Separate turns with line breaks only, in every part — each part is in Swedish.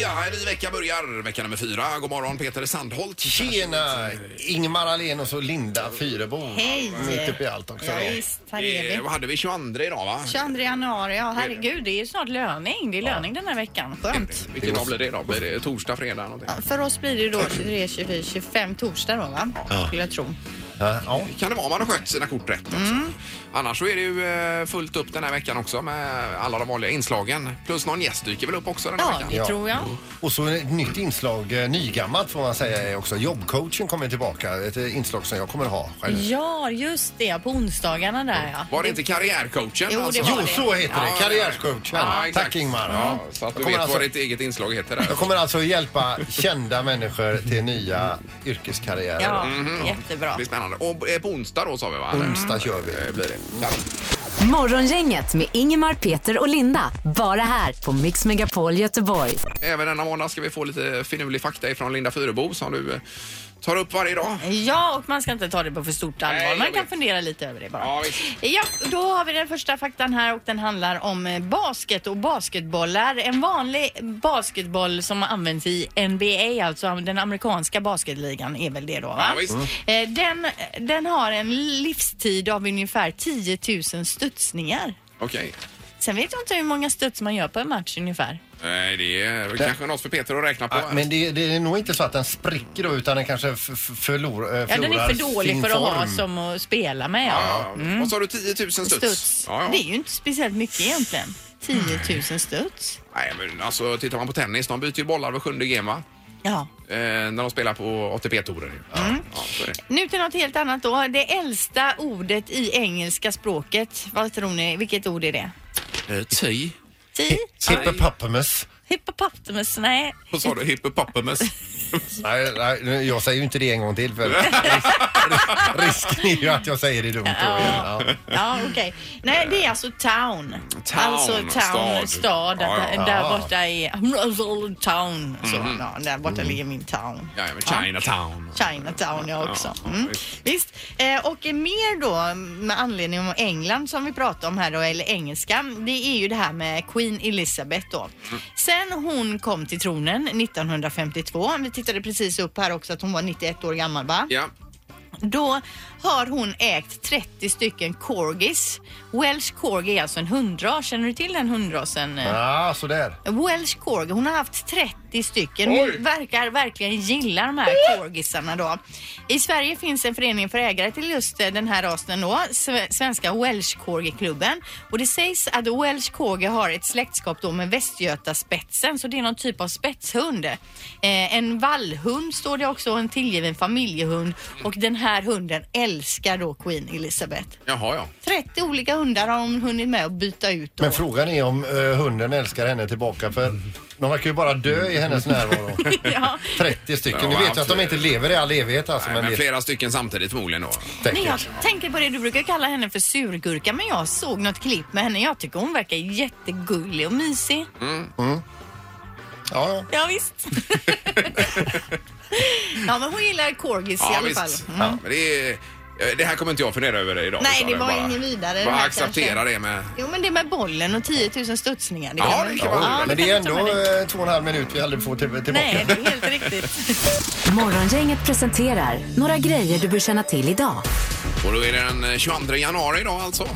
Ja, en ny vecka börjar, vecka nummer fyra. God morgon Peter Sandholt.
Tjena! Ingmar Ahlenius Eh, och Linda Fyrebo.
Hej!
Mitt uppe i allt också.
Ja, visst, här är
Eh,
vi.
vad hade vi? 22 idag va?
22 januari, ja herregud det är ju snart löning. Det är löning den här veckan. Skönt.
Vilken dag blir det idag? Blir det torsdag, fredag någonting?
Ja, För oss blir det ju då 23, 24, 25 torsdag då va? Skulle jag tro.
Ja, Eh, ja.
Kan det vara om man har skött sina kort rätt alltså.
Mm.
Annars så är det ju eh, fullt upp den här veckan också med alla de vanliga inslagen. Plus någon gäst dyker väl upp också den här
Ja,
veckan.
det
Ja.
tror jag.
Och så ett nytt inslag, eh, nygammalt får man säga är också. Jobbcoachen kommer tillbaka. Ett eh, inslag som jag kommer ha själv.
Ja, just det. På onsdagarna där ja.
Var det inte karriärcoachen?
Jo, det var
Jo, så heter
Ja,
det. Karriärscoachen.
Ja, exakt.
Tack Ingmar.
Ja, så att du vet
Jag kommer alltså-
vad ditt eget inslag heter där.
Jag kommer alltså hjälpa kända människor till nya yrkeskarriärer.
Ja, jättebra.
Det blir spännande. Och eh, på onsdag då sa vi va?
Onsdag kör vi.
Eh, Blir det. Ja.
Morgongänget med Ingemar, Peter och Linda. Bara här på Mix Megapol Göteborg.
Även denna måndag ska vi få lite finurlig fakta ifrån Linda Fyrebo som du eh, tar upp varje dag.
Ja, och man ska inte ta det på för stort
Nej,
allvar.
jag
Man kan
vet.
fundera lite över det bara.
Ja, visst.
Ja, då har vi den första faktan här och den handlar om eh, basket och basketbollar. En vanlig basketboll som används i NBA, alltså den amerikanska basketligan är väl det då va?
Ja, visst.
Eh, Den, den har en livstid av ungefär 10 000 studsningar.
Okej.
Sen vet jag inte hur många studs man gör på en match ungefär.
Nej, det är väl kanske något för Peter att räkna på.
Ja, Men det, det är nog inte så att den spricker då, utan den kanske f- f- förlor, eh, förlorar
Ja, den är för
sin
dålig för att ha
form.
som att spela med. Ja.
Ja, Och så har du 10 000 studs.
Studs.
Ja,
Det är
ja.
ju inte speciellt mycket egentligen. 10 000 studs.
Nej, men alltså tittar man på tennis, de byter ju bollar var sjunde game va?
Ja.
Eh, när de spelar på ATP-touren. Mm. Ja, så är det.
Nu till något helt annat då. Det äldsta ordet i engelska språket. Vad tror ni? Vilket ord är det?
ty.
Ti?
Hippopotamus.
Hippopotamus? Nej.
Vad sa du? Hippopotamus?
Nej, nej, nu- jag säger ju inte det en gång till för risken är ju att jag säger det dumt då igen. Ja.
Ja, okej. Nej, det är alltså town.
Town,
alltså town,
stad.
stad.
Ja, ja, ja.
Där borta är town. Så, ja, där borta ligger min town.
Mhm. ja, men Chinatown.
Chinatown jag också.
Ja,
Mm.
visst.
Visst. Eh, och mer då med anledning av England som vi pratade om här då, eller engelska. Det är ju det här med Queen Elizabeth då.
Mm.
Sen hon kom till tronen 1952, vi tittade precis upp här också att hon var 91 år gammal va?
Ja.
Då har hon ägt 30 stycken corgis. Welsh corgi är alltså en hundras, känner du till den hundrasen? eh?
Ja, sådär.
Welsh corgi. Hon har haft 30 stycken.
Oj.
Hon verkar verkligen gilla de här corgisarna då. I Sverige finns en förening för ägare till just eh, den här rasen då, Sve- Svenska Welsh Corgi-klubben. Och det sägs att Welsh Corgi har ett släktskap då med Västgötaspetsen, så det är någon typ av spetshund. Eh, en vallhund står det också, och en tillgiven familjehund. Och den här hunden älskar då Queen Elizabeth.
Jaha, ja.
30 olika hundar har hon hunnit med att byta ut då.
Men frågan är om eh, hunden älskar henne tillbaka för de verkar ju bara dö i hennes närvaro.
ja.
30 stycken. Nu vet jag att de inte lever i all evighet alltså.
Nej,
Men
men
det
flera stycken samtidigt förmodligen då.
Nej,
tänker.
jag tänker på det, du brukar kalla henne för surgurka men jag såg något klipp med henne. Jag tycker hon verkar jättegullig och mysig.
Mm.
Ja, ja.
Ja, visst. ja, men hon gillar corgis i alla fall. Mm.
Ja, men det, är, eh, det här kommer inte jag fundera över idag.
Nej,
utan
det var
bara-
ingen vidare, det
Bara
här
acceptera
kanske.
det med...
Jo, men det med bollen och 10 000 studsningar.
Ja,
man-
det kan man-
ja,
Men det är
kan vi
ändå
ta med dig.
eh, två och en halv minut vi aldrig får till- tillbaka.
Nej, det är helt riktigt.
Morgongänget presenterar några grejer du bör känna till idag.
Och då är det den eh, 22 januari idag alltså.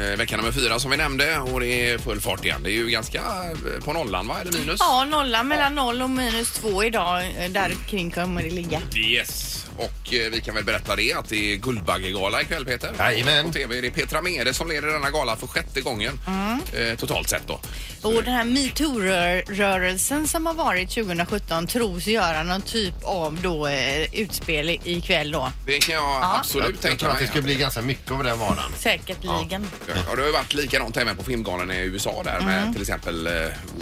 Eh, vecka nummer fyra som vi nämnde och det är full fart igen. Det är ju ganska eh, på nollan va? Eller minus?
Ja, nolla mellan noll och minus två idag. eh, Där kring kommer det ligga.
Yes. Och eh, vi kan väl berätta det att det är Guldbaggegala ikväll Peter.
Jajamän.
På TV. Det är Petra Mede som leder denna gala för sjätte gången
Mm.
eh, totalt sett då.
Och den här metoo-rörelsen som har varit 2017 tros göra någon typ av då, eh, utspel i- ikväll då.
Det kan jag absolut
Jag, jag
tänka
tror att det
mig.
skulle bli ganska mycket av den varan.
Säkert ligan.
Ja, det har ju varit likadant även på filmgalan i USA där med till exempel eh,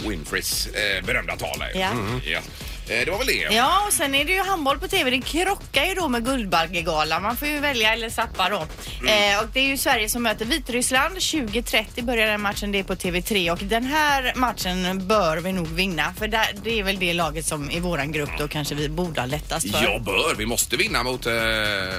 Winfreys eh, berömda tal. här ju.
Mm. Ja.
Ja. Eh, Det var väl det.
Ja, och sen är det ju handboll på TV. Det krockar ju då med Guldbaggegalan. Man får ju välja eller sappa då.
Mm.
Eh, och det är ju Sverige som möter Vitryssland. 20.30 börjar den matchen. Det är på TV3 och den här matchen bör vi nog vinna. För där, det är väl det laget som i våran grupp då kanske vi borde ha lättast för.
Ja, bör. Vi måste vinna mot, eh,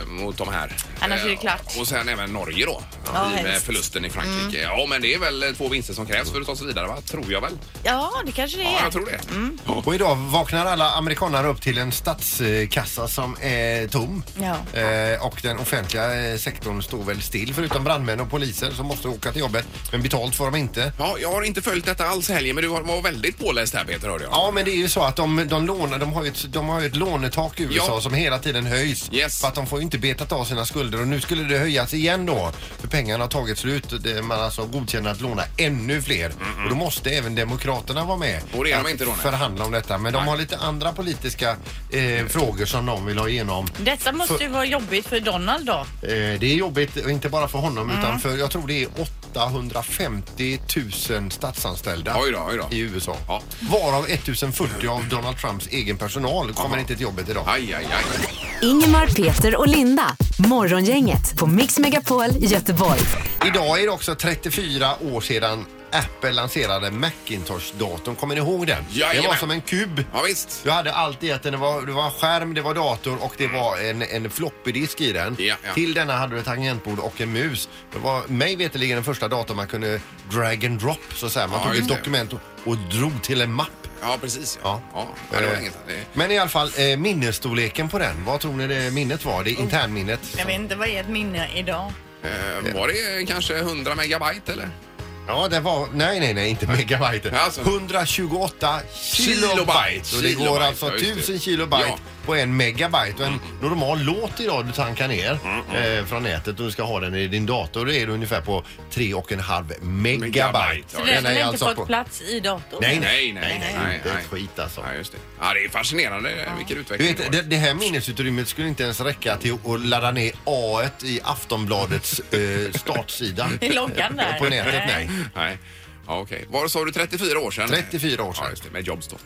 mot de här.
Annars är det
Eh,
klart.
Och sen även Norge då. I
Ja,
och med
helst. Mm.
förlusten i Frankrike. Ja, men det är väl två vinster som krävs för att ta sig vidare, va? Tror jag väl.
Ja, Mm. det kanske det är.
Ja, jag tror det. Ja.
Och idag vaknar alla amerikanare upp till en statskassa som är tom.
Ja.
Eh, och den offentliga eh, sektorn står väl still förutom brandmän och poliser som måste åka till jobbet. Men betalt får de inte.
Ja, jag har inte följt detta alls i helgen, men du var- var väldigt påläst här Peter hörde jag.
Ja, men det är ju så att de, de, lånar, de, har, ju ett, de har ju ett lånetak i USA
Ja.
som hela tiden höjs.
Yes.
För att de får ju inte betat av sina skulder och nu skulle det höjas igen då. För pengarna har tagit slut. Det- Man alltså godkänner att låna ännu fler. Och då måste även Demokraterna vara med.
Och det är de
att
inte då, nej.
Förhandla om detta. Men de har lite andra politiska eh, frågor som de vill ha igenom.
Mm.
Detta måste ju vara jobbigt för Donald då.
Eh, det är jobbigt, och inte bara för honom
Mm.
utan för jag tror det är 850 000 statsanställda
Oj då, oj då.
i USA.
Ja.
Varav 1040 av Donald Trumps egen personal kommer inte till jobbet idag.
Aj, aj, aj.
Ingemar, Peter och Linda. Morgongänget på Mix Megapol Göteborg.
Idag är det också 34 år sedan Apple lanserade Macintosh-datorn. Kommer ni ihåg den? Det var
Jajamän.
som en kub.
Ja, visst.
Du hade allt i att den var, det var en skärm, det var dator och det var en, en floppydisk i den.
Ja, ja.
Till denna hade du ett tangentbord och en mus. Det var mig veterligen den första datorn man kunde drag and drop så att säga. Man
Ja,
tog ett
just det.
dokument och, och drog till en mapp.
Ja, precis.
Ja.
Ja, ja. ja det var
Eh,
inget. Det...
Men i alla fall eh, minnesstorleken på den. Vad tror ni det minnet var? Det är internminnet.
Jag vet inte vad är ett minne idag.
Eh, var det kanske 100 megabyte eller?
Ja, det var... Nej, nej, nej, inte megabyte.
Alltså.
128 kilobyte.
Kilobyte.
Och det går
Kilobyte,
alltså
ja, just det.
1000 kilobyte
Ja. Mm.
på en megabyte. Och en normal låt idag du tankar ner eh, från nätet och du ska ha den i din dator, då är det ungefär på 3,5 megabyte. alltså
Megabyte, ja,
Så
Den
det
är
har inte fått
på...
plats i datorn.
Nej, nej.
Nej, nej, nej. nej,
Inte
nej.
ett skit alltså.
Ja, just det. Ja, det är fascinerande vilken
Du
utveckling
vet, det, det här minnesutrymmet skulle inte ens räcka till att ladda ner A i Aftonbladets eh, startsida.
I loggan där.
På nätet, nej.
Nej. Ja, okej. Var sa du 34 år sedan?
34 år sedan.
Ja, just det, med Jobs då.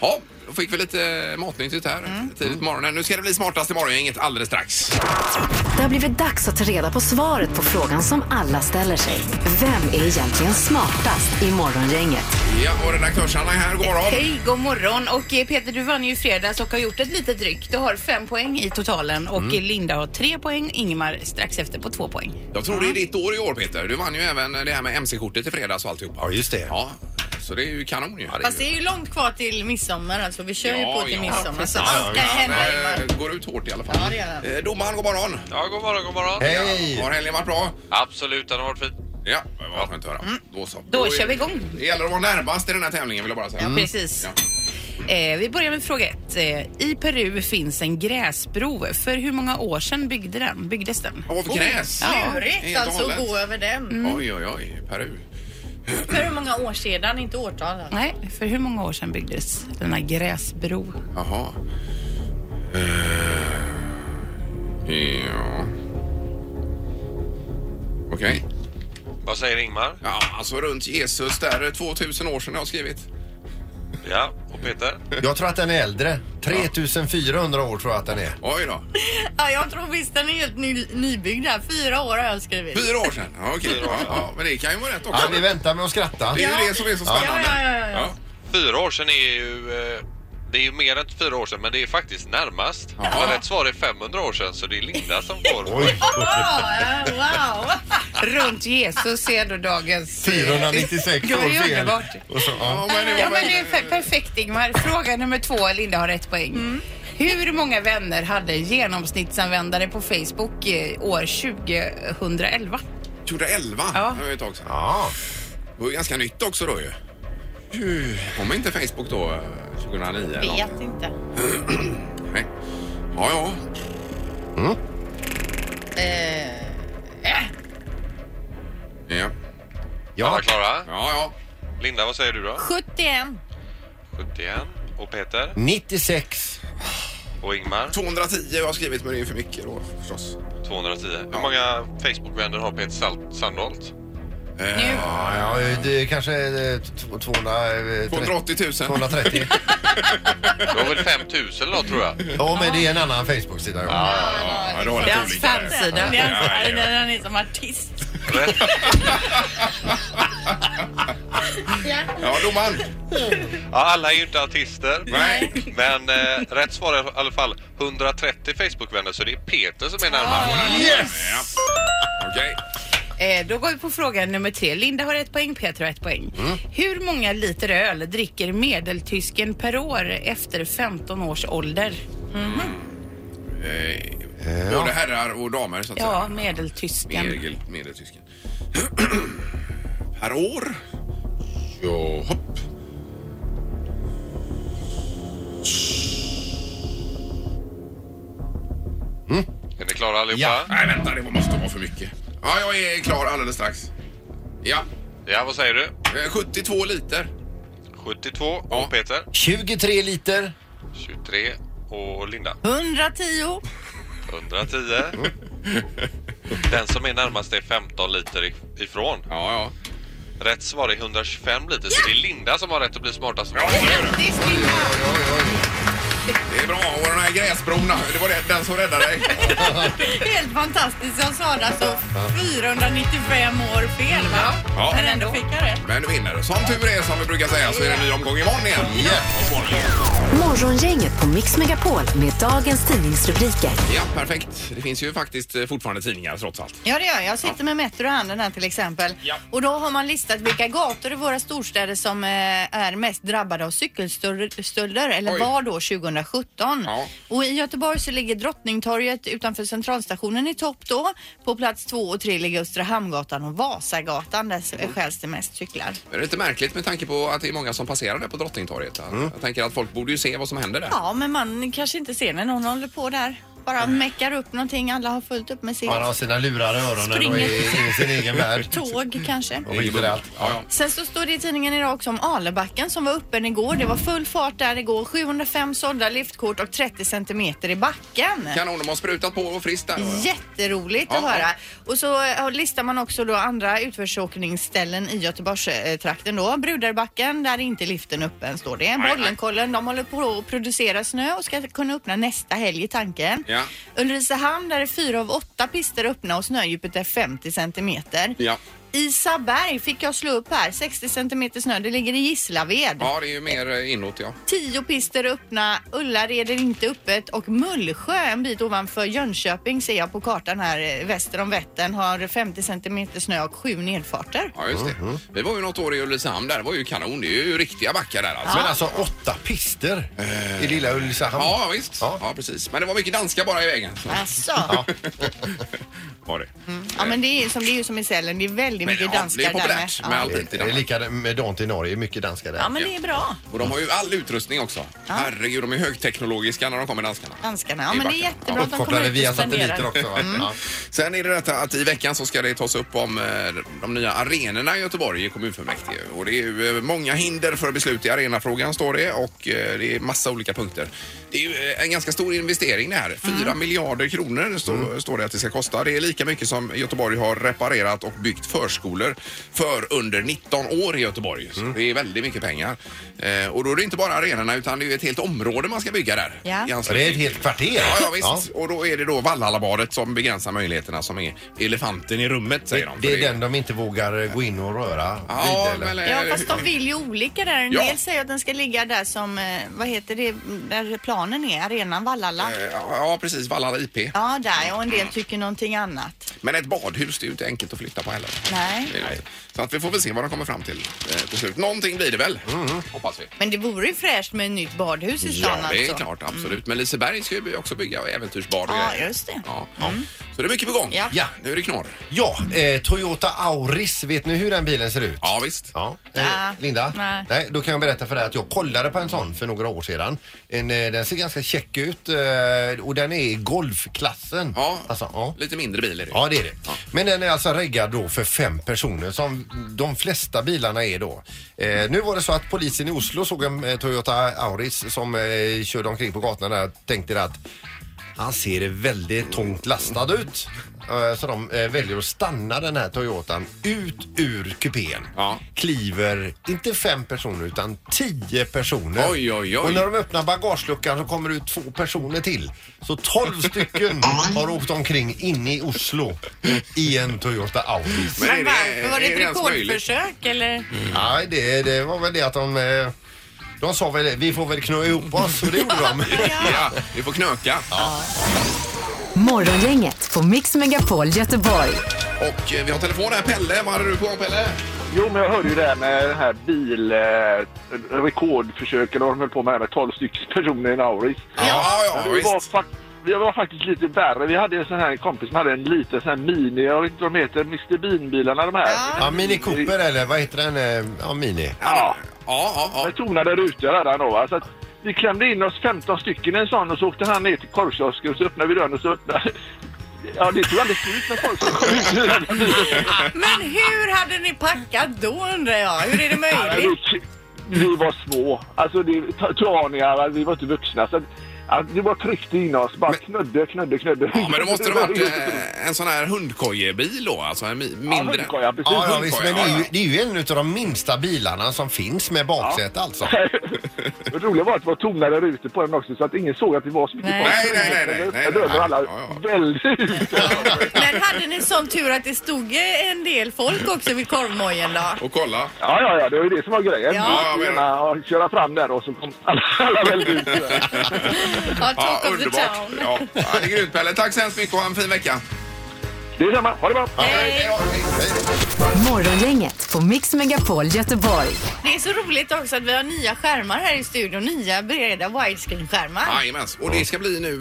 Ja. då fick vi lite matnyttigt här
Mm.
tidigt på
Mm.
morgonen. Nu ska det bli smartast i morgongänget alldeles strax.
Det har blivit dags att ta reda på svaret på frågan som alla ställer sig. Vem är egentligen smartast i morgongänget?
Ja, och redaktörs-Anna är här. God morgon.
Hej, god morgon. Och eh, Peter, du vann ju i fredags och har gjort ett litet ryck. Du har fem poäng i totalen
Mm.
och eh, Linda har tre poäng. Ingemar strax efter på två poäng.
Jag tror det är ditt år i år, Peter. Du vann ju även det här med MC-kortet i fredags och alltihopa.
Ja, just det.
Ja, så det är ju kanon ju.
Fast det är ju långt kvar till midsommar alltså. Vi kör ju
Ja,
på till
ja.
midsommar. Så
Ja,
allt kan
ja,
hända.
men,
Ingmar.
eh, går ut hårt i alla fall.
Ja, det gör
Eh, Domaren, god morgon.
Ja, god morgon, god morgon.
Hej!
Har helgen varit bra?
Absolut, den har varit fin.
Ja, det var skönt att höra.
Mm.
Då så.
Då
är-
kör vi igång.
Det gäller att vara närmast i den här tävlingen vill jag bara säga.
Mm.
Ja, precis.
Ja.
Eh, vi börjar med fråga ett. Eh, I Peru finns en gräsbro. För hur många år sedan byggde den? byggdes den?
Av gräs?
Lurigt
Helt och
alltså att
hållet.
gå över den.
Oj, oj, oj. Peru.
För hur många år sedan, inte årtal. Alltså.
Nej, för hur många år sedan byggdes denna gräsbro?
Jaha. Eh, ja. Okej.
Vad säger Ingmar?
Ja, alltså runt Jesus där, 2000 år sedan jag har skrivit.
Ja, och Peter?
Jag tror att den är äldre. 3400 år tror jag att den är.
Oj då.
Ja, jag tror visst den är helt ny, nybyggd här. Fyra år har jag skrivit.
Fyra år sedan. Ja, okej. Ja, ja, men det kan ju vara rätt
Ja,
också.
vi väntar med att skratta.
Det är ju det som är så spännande.
Ja, ja, ja, ja.
Fyra år sedan är ju... eh, Det är ju mer än fyra år sedan, men det är faktiskt närmast.
Ja.
Men rätt svar är 500 år sedan, så det är Linda som får.
Oj,
Ja, wow!
Runt Jesus ser då dagens... eh,
496
Ja,
år
det är
fel.
underbart.
Och så, ja.
Ja, men det är fe- perfekt Ingmar. Fråga nummer två, Linda har rätt poäng. Hur många vänner hade en genomsnittsanvändare på Facebook eh, år 2011?
2011.
Ja.
Det var ju ett tag sedan.
Ja.
Det var ju ganska nytt också då ju. Tju, Kom inte Facebook då eh, 2009? eller något?
Vet inte.
Nej. Ja, ja. Mm.
Eh, äh.
Ja,
Alla
ja.
klara?
ja. ja.
Linda, vad säger du då?
71.
71. Och Peter?
96.
Och Ingmar?
210 har jag skrivit, men det är ju för mycket då förstås.
210. Hur många Facebook-vänner har Peter Sal- Sandholt?
Nu.
Ja, ja, det är kanske eh, t- 200, eh,
280 000.
230.
Det var väl 5 000 då tror jag.
Ja, men det är en annan Facebook-sida. Ja.
Ja, det var
Det är
lite
hans
olika.
fansida.
Det är
Ja, ja,
alltså,
ja.
när han är som artist.
Ja, domaren.
Ja, alla är ju inte artister.
Nej.
Men eh, rätt svar är i alla fall 130 Facebookvänner så det är Peter som är närmast.
Yes! Ja. Okej.
Eh, då går vi på fråga nummer tre. Linda har ett poäng, Peter har ett poäng. Hur många liter öl dricker medeltysken per år efter 15 års ålder?
Eh, Både herrar och damer så att
Ja,
säga.
medeltysken.
Medel, medeltysken. per år? Ja, hopp.
Är ni klara allihopa?
Ja.
Nej, vänta, det måste vara för mycket. Ja, jag är klar alldeles strax. Ja,
ja, vad säger du?
eh, 72 liter.
72
Ja.
och Peter,
23 liter.
23 och Linda,
110.
110. Den som är närmast är 15 liter i- ifrån.
Ja, ja.
Rätt svar är 125 liter, så det är Linda som har rätt att bli smartast.
Grattis Linda!
Det är bra. Och den här gräsbron, det var den- den som räddade dig.
Helt fantastiskt. Jag sa det alltså 495 år fel va?
Ja.
Men ändå fick jag rätt.
Men du vinner. Som tur är, som vi brukar säga, så är det en ny omgång imorgon igen. Och imorgon.
Morgongänget på Mix Megapol med dagens tidningsrubriker.
Ja, perfekt. Det finns ju faktiskt eh, fortfarande tidningar trots allt.
Ja, det gör jag. Jag sitter med Metro i handen här till exempel.
Ja.
Och då har man listat vilka gator i våra storstäder som eh, är mest drabbade av cykelstölder, eller
Oj.
var då 2017.
Ja.
Och i Göteborg så ligger Drottningtorget utanför Centralstationen i topp då. På plats två och tre ligger Östra Hamngatan och Vasagatan. Där mm. stjäls det mest cyklar.
Det är lite märkligt med tanke på att det är många som passerar där på Drottningtorget. Jag tänker att folk borde ju se vad som händer där.
Ja, men man kanske inte ser när någon håller på där. Bara meckar upp någonting. Alla har fullt upp med sitt
Man har sina lurar i öronen och
Springer.
är i sin egen värld.
tåg kanske.
Och skiter i allt.
Ja, ja.
Sen så står det i tidningen idag också om Alebacken som var öppen igår. Det var full fart där igår. 705 sålda liftkort och 30 centimeter i backen.
Kanon, de har sprutat på och friskt där.
Jätteroligt
Ja,
att höra. Och så eh, listar man också då andra utförsåkningsställen i Göteborgstrakten då. Brudarbacken, där är inte liften öppen står det.
nej.
Bollenkollen, de håller på att producera snö och ska kunna öppna nästa helg i tanken.
Ja.
Ulricehamn, där är fyra av åtta pister öppna och snödjupet är 50 centimeter.
Ja.
Isaberg fick jag slå upp här. 60 centimeter snö. Det ligger i Gislaved.
ja, det är ju mer eh, inåt ja.
10 pister öppna. Ullared är inte öppet och Mullsjö en bit ovanför Jönköping ser jag på kartan här eh, väster om Vättern har 50 centimeter snö och sju nedfarter.
Ja, just det. Vi var ju något år i Ulricehamn där. Det var ju kanon. Det är ju riktiga backar där alltså.
Men alltså åtta pister i lilla Ulricehamn.
alltså, Ja, visst. Ja.
Ja.
precis. Men det var mycket danska bara i vägen.
Alltså.
Var det.
Ja men det är, som, det är ju som i Sälen, det är väldigt
Men
mycket
ja,
danskar
det är populärt
där
med
med.
allt
Det
i
är
Danmark.
likadant i Norge, mycket danskar där.
Ja, men det är bra.
Och de har ju all utrustning också. Herregud, de är högteknologiska när de kommer danskarna.
Ja, danskarna. Ja
I
men det är
backen.
jättebra att de kommer
Uppkopplade
ut
via
och
satelliter
spenderar. Mm.
också. Va? Ja.
Sen är det detta att i veckan så ska det tas upp om eh, de nya arenorna i Göteborg i kommunfullmäktige. Och det är ju eh, många hinder för beslut i arenafrågan står det och eh, det är massa olika punkter. Det är ju eh, en ganska stor investering det här. 4 miljarder kronor står,
Mm.
står det att det ska kosta. Det är lika mycket som Göteborg har reparerat och byggt förskolor för under 19 år i Göteborg.
Mm.
Så det är väldigt mycket pengar. Eh, och då är det inte bara arenorna utan det är ju ett helt område man ska bygga där.
Ja.
I
Och Det är ett helt kvarter.
Ja, ja visst. Och då är det då Vallhallabadet som begränsar möjligheterna som är elefanten i rummet säger de.
Det
För
är den de inte vågar eh, gå in och röra
Ja,
vid,
men,
eller?
eh,
Ja fast de vill ju olika där. En
Ja.
del säger att den ska ligga där som, eh, vad heter det, där planen är, arenan Vallala.
eh, Ja, precis. Vallhalla IP.
Ja, där och en del tycker någonting annat.
Men ett badhus, det är ju inte enkelt att flytta på heller.
Nej.
Det är det inte. Så att vi får väl se vad de kommer fram till eh, till slut. Någonting blir det väl,
Mm.
hoppas vi.
Men det vore ju fräscht med ett nytt badhus i
Ja,
stan
det är
alltså.
klart. Absolut. Men Liseberg ska ju också bygga äventyrsbad och
Ja,
grejer.
just det.
Ja, ja. Så det är mycket på gång.
Ja.
Ja.
Nu är det knorr.
Ja, eh, Toyota Auris, vet ni hur den bilen ser ut?
Ja, visst.
Ja. Eh,
Nej.
Linda?
Nej.
Då kan jag berätta för dig att jag kollade på en sån för några år sedan. En, eh, den ser ganska check ut eh, och den är i golfklassen.
Ja.
Alltså, ja.
Lite mindre bil är det.
Ja, det är det. Men den är alltså reggad då för fem personer som de flesta bilarna är då. Eh, nu var det så att polisen i Oslo såg en eh, Toyota Auris som eh, körde omkring på gatorna där och tänkte att Han ser väldigt tungt lastad ut. Eh, Så de eh, väljer att stanna den här Toyotan ut ur kupén.
Ja.
Kliver inte fem personer utan tio personer.
Oj, oj, oj.
Och när de öppnar bagageluckan så kommer det ut två personer till. Så tolv stycken har åkt omkring inne i Oslo i en Toyota Audi.
Men är
Men varför? Var det
är
ett
ens möjligt?
rekordförsök eller?
Nej, det, det var väl det att de... eh, De sa väl vi får väl knö ihop oss och det gjorde de.
Ja, vi får knöka.
Morgongänget på Mix Megapol Göteborg.
Och eh, vi har telefon här. Pelle, vad hade du på gång, Pelle?
Jo, men jag hörde ju det här med den här bilrekordförsöken eh, de höll på med, här med 12 stycken personer i en Auris.
Ja, ja,
vi, var
visst.
fak- vi var faktiskt lite värre. Vi hade en sån här en kompis som hade en liten sån här mini, jag vet inte vad de heter, Mr Bean-bilarna de här.
Ja, Mini Cooper eller vad heter den? eh, Ja, Mini.
Ja,
Ja, ja,
med tonade rutor hade han då. va. Så att vi klämde in oss 15 stycken i en sån och så åkte han ner till korvkiosken och så öppnade vi dörren och så öppnade... Ja, det tog aldrig slut när folk kom ut ur den bilen.
Men hur hade ni packat då undrar jag? Hur är det
Ja,
möjligt?
vi- Vi var små. Alltså, det, t- traningar, alltså, vi var inte vuxna. Så att, alltså, det var tryckte in oss. Bara knödde, knödde, knödde.
ja. Men då måste det ha varit eh, en sån här hundkojebil då, alltså en mi-
Ja,
mindre.
hundkoja,
Ja,
precis.
ja
hundkoja,
visst, men det är,
ja,
ju,
ja.
det är ju en av de minsta bilarna som finns med baksäte alltså.
Det roliga var att det var tonade rutor på den också så att ingen såg att det var så mycket
Nej.
Nej, nej, nej, nej, nej,
Jag dödade
nej.
alla
Ja, ja.
väldigt ut.
Men hade ni sån tur att det stod eh, en del folk också vid korvmojen då?
Och kolla.
Ja, ja, ja, det var ju det som var grejen.
Ja.
Ja, jag menar. Köra fram där och så kom alla, alla väldigt ut.
Ja,
Ja,
talk of the
underbart.
town.
Ja, ja, det är grymt Pelle. Tack så hemskt mycket och ha en fin vecka.
Det är samma. Ha det bra!
Hej då. Hej.
Morgongänget på Mix Megapol Göteborg.
Det är så roligt också att vi har nya skärmar här i studion. Nya breda widescreen-skärmar.
Jajamens. Och det ska bli nu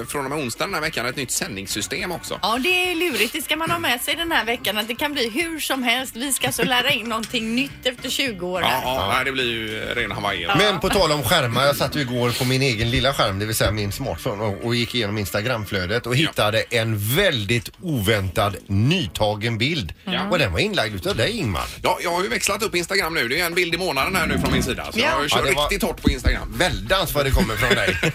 eh, från och med onsdag den här veckan ett nytt sändningssystem också.
Ja, det är lurigt. Det ska man ha med sig den här veckan. Att det kan bli hur som helst. Vi ska så lära in någonting nytt efter 20 år.
Ja,
här.
ja, nej, det blir ju eh, rena Hawaii.
Men på tal om skärmar, jag satt ju igår på min egen lilla skärm, det vill säga min smartphone och, och gick igenom Instagramflödet och hittade en väldigt oväntad nytagen bild. Och den var inlagd utav dig Ingmar.
Ja, jag har ju växlat upp Instagram nu. Det är en bild i månaden här nu från min sida. Så jag har ju
Ja.
kört
Ja, det var-
riktigt hårt på Instagram.
Väldans vad det kommer från dig.
Eh,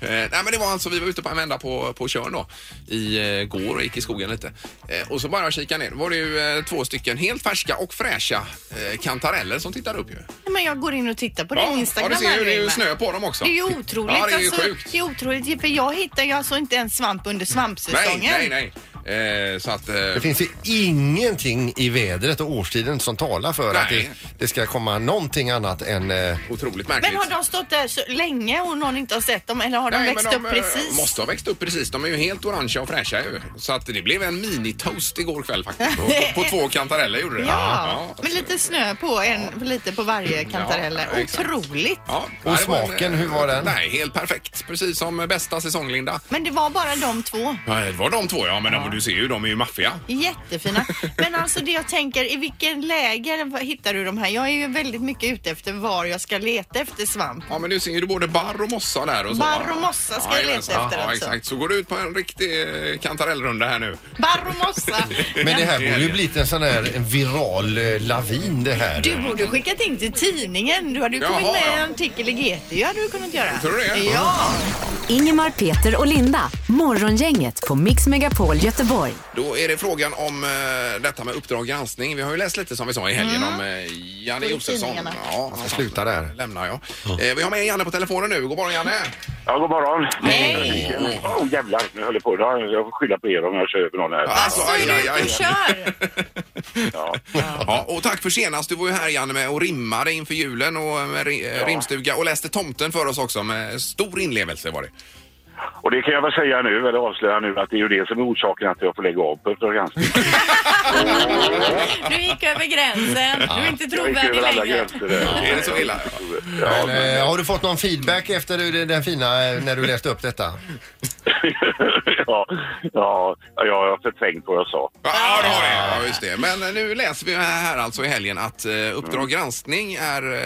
Nej men det var alltså, vi var ute på en vända på, på Tjörn då i eh, går och gick i skogen lite. Eh, och så bara kika ner, var det ju eh, två stycken helt färska och fräscha eh, kantareller som tittar upp ju.
Men jag går in och tittar på
Ja,
din Instagram
ja, du ser
här
ju, det är ju
Ingmar.
snö på dem också.
Det är ju otroligt.
Ja, det är ju
alltså,
sjukt.
det är otroligt för jag hittar ju alltså inte en svamp under
Nej,
svampsäsongen.
nej, nej. Eh, så att... Eh,
Det finns ju ingenting i vädret och årstiden som talar för att
Nej.
det, det ska komma någonting annat än... Eh,
Otroligt märkligt.
Men har de stått där så länge och någon inte har sett dem eller har de
Nej, men
växt upp
eh,
precis?
måste ha växt upp precis. De är ju helt orangea och fräscha ju. Så att det blev en mini-toast igår kväll faktiskt. På, på två kantareller gjorde det.
Ja, med lite snö på, en, lite på varje kantarell.
Ja, exakt.
Otroligt!
Ja,
Och
nej, det en,
smaken,
eh,
hur var den?
Nej, helt perfekt. Precis som bästa säsong, Linda.
Men det var bara de två.
Ja, det var de två, ja. Men De, du ser ju, de är ju maffiga.
Jättefina. Men alltså det jag tänker, i vilken läger hittar du de här? Jag är ju väldigt mycket ute efter var jag ska leta efter svamp.
Ja, men du ser ju både barr och mossa där och så.
Barr
va?
och mossa ska jag leta
jajamensan.
efter
Ja,
alltså.
exakt. Så går du ut på en riktig eh, kantarellrunda här nu.
Barr och mossa.
men det här
det är
borde ju
det.
blivit en sån här en viral eh, lavin det här.
Du borde skickat in till tidningen. Du hade ju
Jaha,
kommit med
ja.
en artikel i GT. Det hade du kunnat göra.
Tror du det? Mm.
Ja.
Ingemar, Peter och Linda. Morgongänget på Mix Megapol Göteborg.
Då är det frågan om eh, detta med Uppdrag granskning. Vi har ju läst lite som vi sa i helgen om eh, Janne Josefsson.
Mm. tidningarna.
Ja, han
sluta där.
Lämnar jag. Eh, vi har med Janne på telefonen nu. God morgon Janne!
Ja, god morgon.
Hej!
Åh, oh, jävlar. Nu höll jag på. Jag får skylla på er om jag kör över någon här.
Alltså,
Så är du ute och kör.
Ja.
Ja, och tack för senast. Du var ju här Janne med och rimmade inför julen och med ri- eh, rimstuga och läste Tomten för oss också med stor inlevelse var det.
Och det kan jag väl säga nu, eller avslöja nu, att det är ju det som är orsaken att jag får lägga av på Uppdrag granskning.
Du gick över gränsen. Du är inte
Jag gick
trovärdig
över alla
längre.
gränser där.
Är det så illa?
Ja, men-
Men, eh, har du fått någon feedback efter du- den fina, eh, när du läste upp detta?
ja, ja, ja, jag har förträngt vad jag sa.
Ja, det har det. Ja, just det. Men eh, nu läser vi här alltså i helgen att eh, Uppdrag granskning är... eh,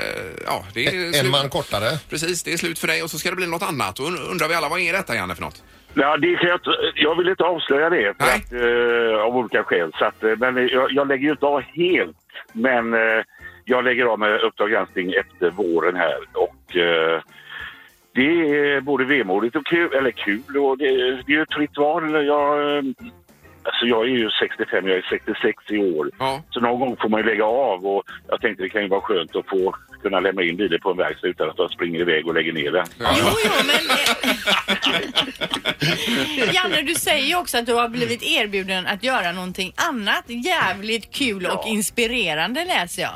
Ja, det är
Mm. En
slut.
man kortare?
Precis, det är slut för dig och så ska det bli något annat. Och und- undrar vi alla, vad är detta Janne för något?
Ja, det kan jag, inte- jag vill inte avslöja det för
Nej.
att, eh, av olika skäl. Så att, eh, men jag, jag lägger ju inte av helt. Men eh, jag lägger av med Uppdrag granskning efter våren här. Och, eh, Det är både vemodigt och kul, eller kul, och det, det är ju ett fritt val. Jag, eh, alltså jag är ju 65, jag är 66 i år.
Ja.
Så någon gång får man ju lägga av och jag tänkte det kan ju vara skönt att få kunna lämna in bilen på en verkstad utan att de springer iväg och lägger ner den.
Jo, jo, men... Janne, du säger ju också att du har blivit erbjuden att göra någonting annat jävligt kul och
Ja.
inspirerande läser jag.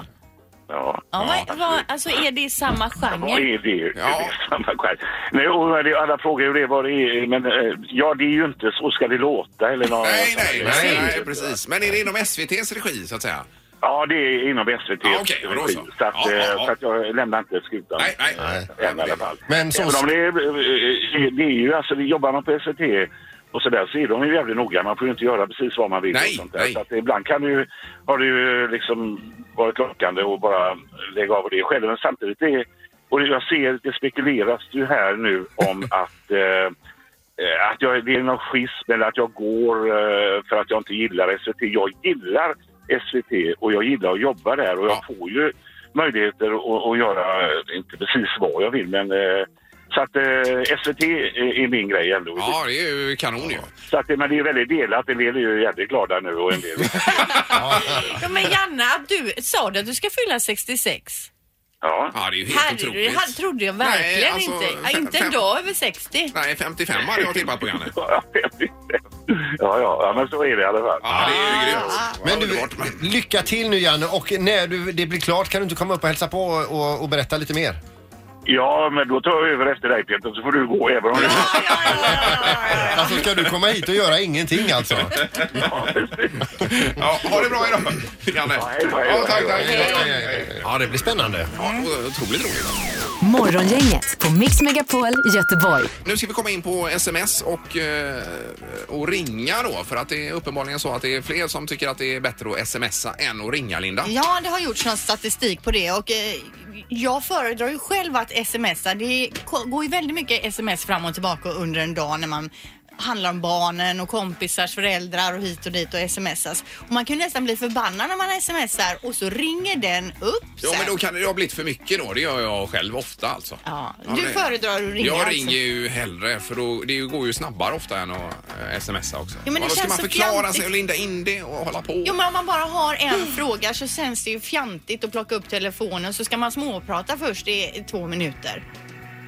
Ja.
Ja, vad, vad, alltså är det samma
Vad
genre?
är det?
Ja.
Det är samma skär. Nej, och det- alla frågar ju det vad det är, men eh, ja, det är ju inte så ska det låta eller något.
Nej, nej, nej,
Nej.
nej, precis. Men är det inom SVTs regi så att säga?
Ja, det är inom SVT.
Ja, okej, ja, då så.
Så att,
Ja,
eh,
ja, ja.
så att jag lämnar inte skutan.
Nej, nej.
Nej.
Än i alla fall.
Men så-
Även om det är, eh, det är ju alltså, det jobbar man på SVT och sådär så är de ju jävligt noga. Man får ju inte göra precis vad man vill.
Nej,
och sånt där.
nej.
Så att ibland kan du, har det ju liksom varit lockande att bara lägga av det själv. Men samtidigt, är, och jag ser, det spekuleras ju här nu om att eh, Eh, att jag, det är någon schism eller att jag går eh, för att jag inte gillar SVT. Jag gillar SVT och jag gillar att jobba där och jag
Ja.
får ju möjligheter att, att göra, eh, inte precis vad jag vill men eh, så att eh, SVT är är min grej ändå.
Ja, det är ju kanon ju.
Så att, det- men det är ju väldigt delat. En del är ju jävligt glada nu och en del...
Ja, men Janne, att du sa du att du ska fylla 66?
Ja.
Ja, det är ju helt
Herregud, det
otroligt.
hade- trodde jag
Nej,
verkligen
alltså,
inte. Ja,
fem-
inte en
fem-
dag över 60.
Nej, 55 hade jag tippat på Janne.
Ja, ja, ja, men så är det i alla fall.
Ja, det
Ah.
är ju grymt.
Men du,
Underbart, men-
lycka till nu Janne och när du, det blir klart kan du inte komma upp och hälsa på och, och, och berätta lite mer?
Ja, men då tar jag över efter dig Peter så får du gå även om du...
Alltså ska du komma hit och göra ingenting alltså?
Ja, precis.
Ja, ha det bra idag, Janne.
Ja, hej då, hej då.
Ja, tack, tack.
Hej, hej, hej. Ja, det blir spännande.
Ja, otroligt roligt.
Morgongänget på Mix Megapol Göteborg.
Nu ska vi komma in på sms och, eh, och ringa då. För att det är uppenbarligen så att det är fler som tycker att det är bättre att smsa än att ringa, Linda.
Ja, det har gjorts någon statistik på det och eh, jag föredrar ju själv att smsa. Det ko- går ju väldigt mycket sms fram och tillbaka under en dag när man handlar om barnen och kompisars föräldrar och hit och dit och smsas. Och man kan ju nästan bli förbannad när man smsar och så ringer den upp
Ja,
sen.
men då kan det ha blivit för mycket då. Det gör jag själv ofta alltså.
Ja,
Ja,
du
men-
föredrar att ringa
Jag
alltså.
ringer ju hellre för då, det går ju snabbare ofta än att eh, smsa också.
Jo, men det
då ska
känns
man
så
förklara
fjantigt.
sig och linda in det och hålla på.
Jo men om man bara har en fråga så känns det ju fjantigt att plocka upp telefonen så ska man småprata först i två minuter.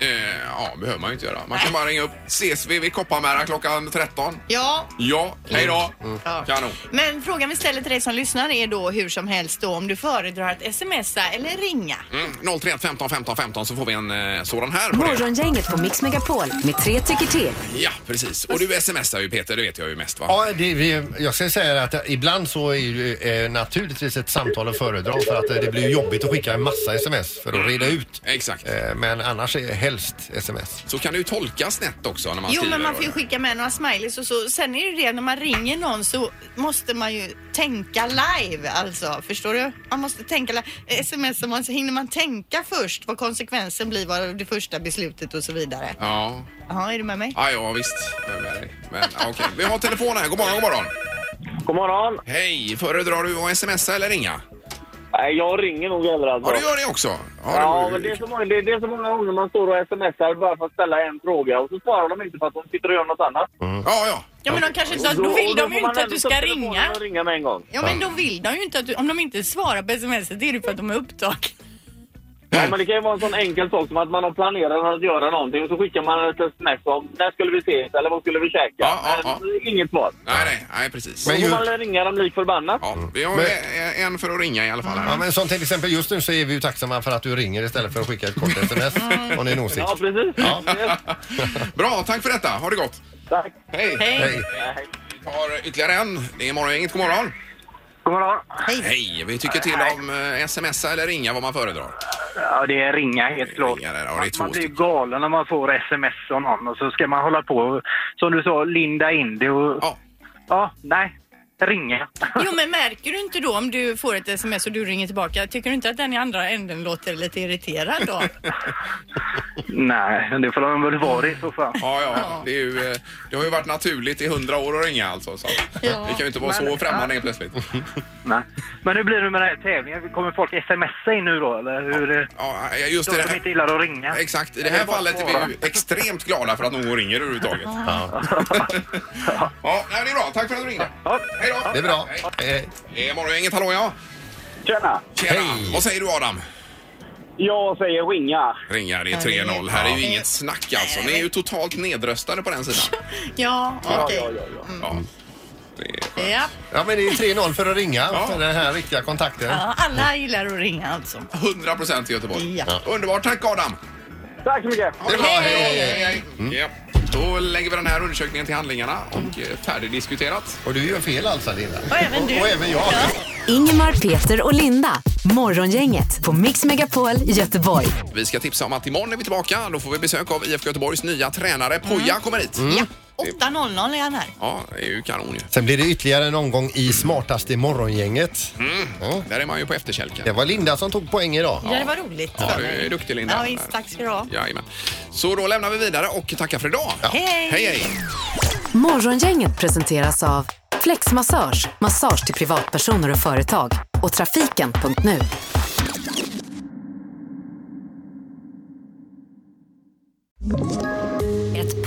Eh, ja, behöver man ju inte göra. Man kan bara ringa upp. Ses vi vid Kopparmära klockan 13?
Ja,
Ja, hej då!
Ja.
Kanon.
Men frågan vi ställer till dig som lyssnar är då hur som helst då om du föredrar att smsa eller ringa.
Mm, 031 15 15 15 så får vi en eh, sådan här på det.
Morgongänget på Mix Megapol med tre tycker till.
Ja, precis. Och du smsar ju Peter, det vet jag ju mest va?
Ja, det, vi, jag ska säga att ibland så är ju eh, naturligtvis ett samtal att föredra för att eh, det blir jobbigt att skicka en massa sms för att reda ut.
Exakt.
Eh, men annars är helst sms.
Så kan det ju tolkas snett också när man
Jo
skriver.
men man
och
får ju
det.
skicka med några smileys och så. Sen är det ju det när man ringer någon så måste man ju tänka live alltså. Förstår du? Man måste tänka live. Smsar man så hinner man tänka först vad konsekvensen blir av det första beslutet och så vidare.
Ja,
Ja, är du med mig?
ja, ja visst. Men, men, men ja, okej. Vi har telefon här. God morgon, god morgon.
God morgon.
Hej, föredrar du att smsa eller ringa?
Nej, jag ringer nog hellre alltså.
Ja, du gör det också.
Ja,
du-
men det är, så många, det, det är så många gånger man står och smsar bara för att ställa en fråga och så svarar de inte för att de sitter och gör något annat.
ja, ja.
Ja, men de kanske inte,
Och
då vill
och
de
får
ju
man
inte att
ändå
du
ta
ska
upp telefonen
ringa.
och ringa med en gång.
Ja, men då vill de ju inte att du, om de inte svarar på sms det är det för att de är upptagna.
Nej, men det kan ju vara en sån enkel sak som att man har planerat att göra någonting och så skickar man ett sms om när skulle vi ses eller vad skulle vi käka?
Ja, ja, ja.
Men Inget svar.
Nej, nej, nej precis.
Då
Men
får
ju,
man ringa dem lik förbannat.
Ja, vi har
Men-
e- en för att ringa i alla fall.
ja,
Här.
men som till exempel just nu så är vi ju tacksamma för att du ringer istället för att skicka ett kort sms om det är en åsikt.
Ja, precis. Yes.
Bra, tack för detta. Ha det gott.
Tack.
Hej.
Hej.
Nej.
Vi tar ytterligare en. Det är morgongänget. God morgon.
God morgon.
Hej. Vi tycker till om eh, smsa eller ringa vad man föredrar.
Ja, det är ringa helt klart.
Ringa där, ja, det är två
man blir ju
stycken.
galen när man får sms av någon och så ska man hålla på och, som du sa, linda in det och...
Ja.
Ja, nej.
ringa.
Jo, men märker du inte då om du får ett sms och du ringer tillbaka, tycker du inte att den i andra änden låter lite irriterad då?
Nej, det får de väl vara i så fall.
Ja, ja. Det, är ju, eh, det har ju varit naturligt i hundra år att ringa alltså. Så. Det kan ju inte vara så
Men-
främmande helt plötsligt.
Nej. Men hur blir det med den här tävlingen? Kommer folk smsa in nu då? Eller hur? eh,
Ja, just i
De
det
som
här,
inte gillar att ringa.
exakt, i det här fallet är vi ju extremt glada för att någon ringer överhuvudtaget. Ja, ja nej, det är bra. Tack för att du ringde.
Ja.
Hej då!
Det är bra.
Hej.
Eh,
Det är morgongänget, hallå ja.
Tjena!
Tjena!
Hej.
Vad säger du Adam?
Jag säger ringa.
Ringar, det är 3-0. Här är ju inget snack alltså. Ni är ju totalt nedröstade på den sidan.
Ja, okej.
Ja. Det är skönt.
Ja.
Ja, men det är 3-0 för att ringa.
Ja.
För den här riktiga kontakten.
Ja, alla gillar att ringa alltså.
100 procent i Göteborg.
Ja.
Underbart, tack Adam!
Tack så mycket!
Ha det bra, hej! hej, hej. Ja. Då lägger vi den här undersökningen till handlingarna och eh, färdigdiskuterat.
Och du gör fel alltså, Linda.
Och även du.
Och, och även jag.
Ingemar, Peter och Linda. Morgongänget på Mix Megapol Göteborg.
Vi ska tipsa om att imorgon är vi tillbaka. Då får vi besök av IFK Göteborgs nya tränare Poja kommer hit.
Mm.
Ja, 8.00 är han här.
Ja, det är ju kanon ju.
Sen blir det ytterligare en omgång i smartaste i morgongänget. Ja.
Där är man ju på efterkälken.
Det var Linda som tog poäng idag.
Ja, det var roligt.
Ja, du är duktig Linda.
Ja, visst. Tack ska du ha.
Jajamän. Så då lämnar vi vidare och tackar för idag. hej,
Hej.
hej.
Morgongänget presenteras av Flexmassage, massage till privatpersoner och företag och trafiken.nu.
Ett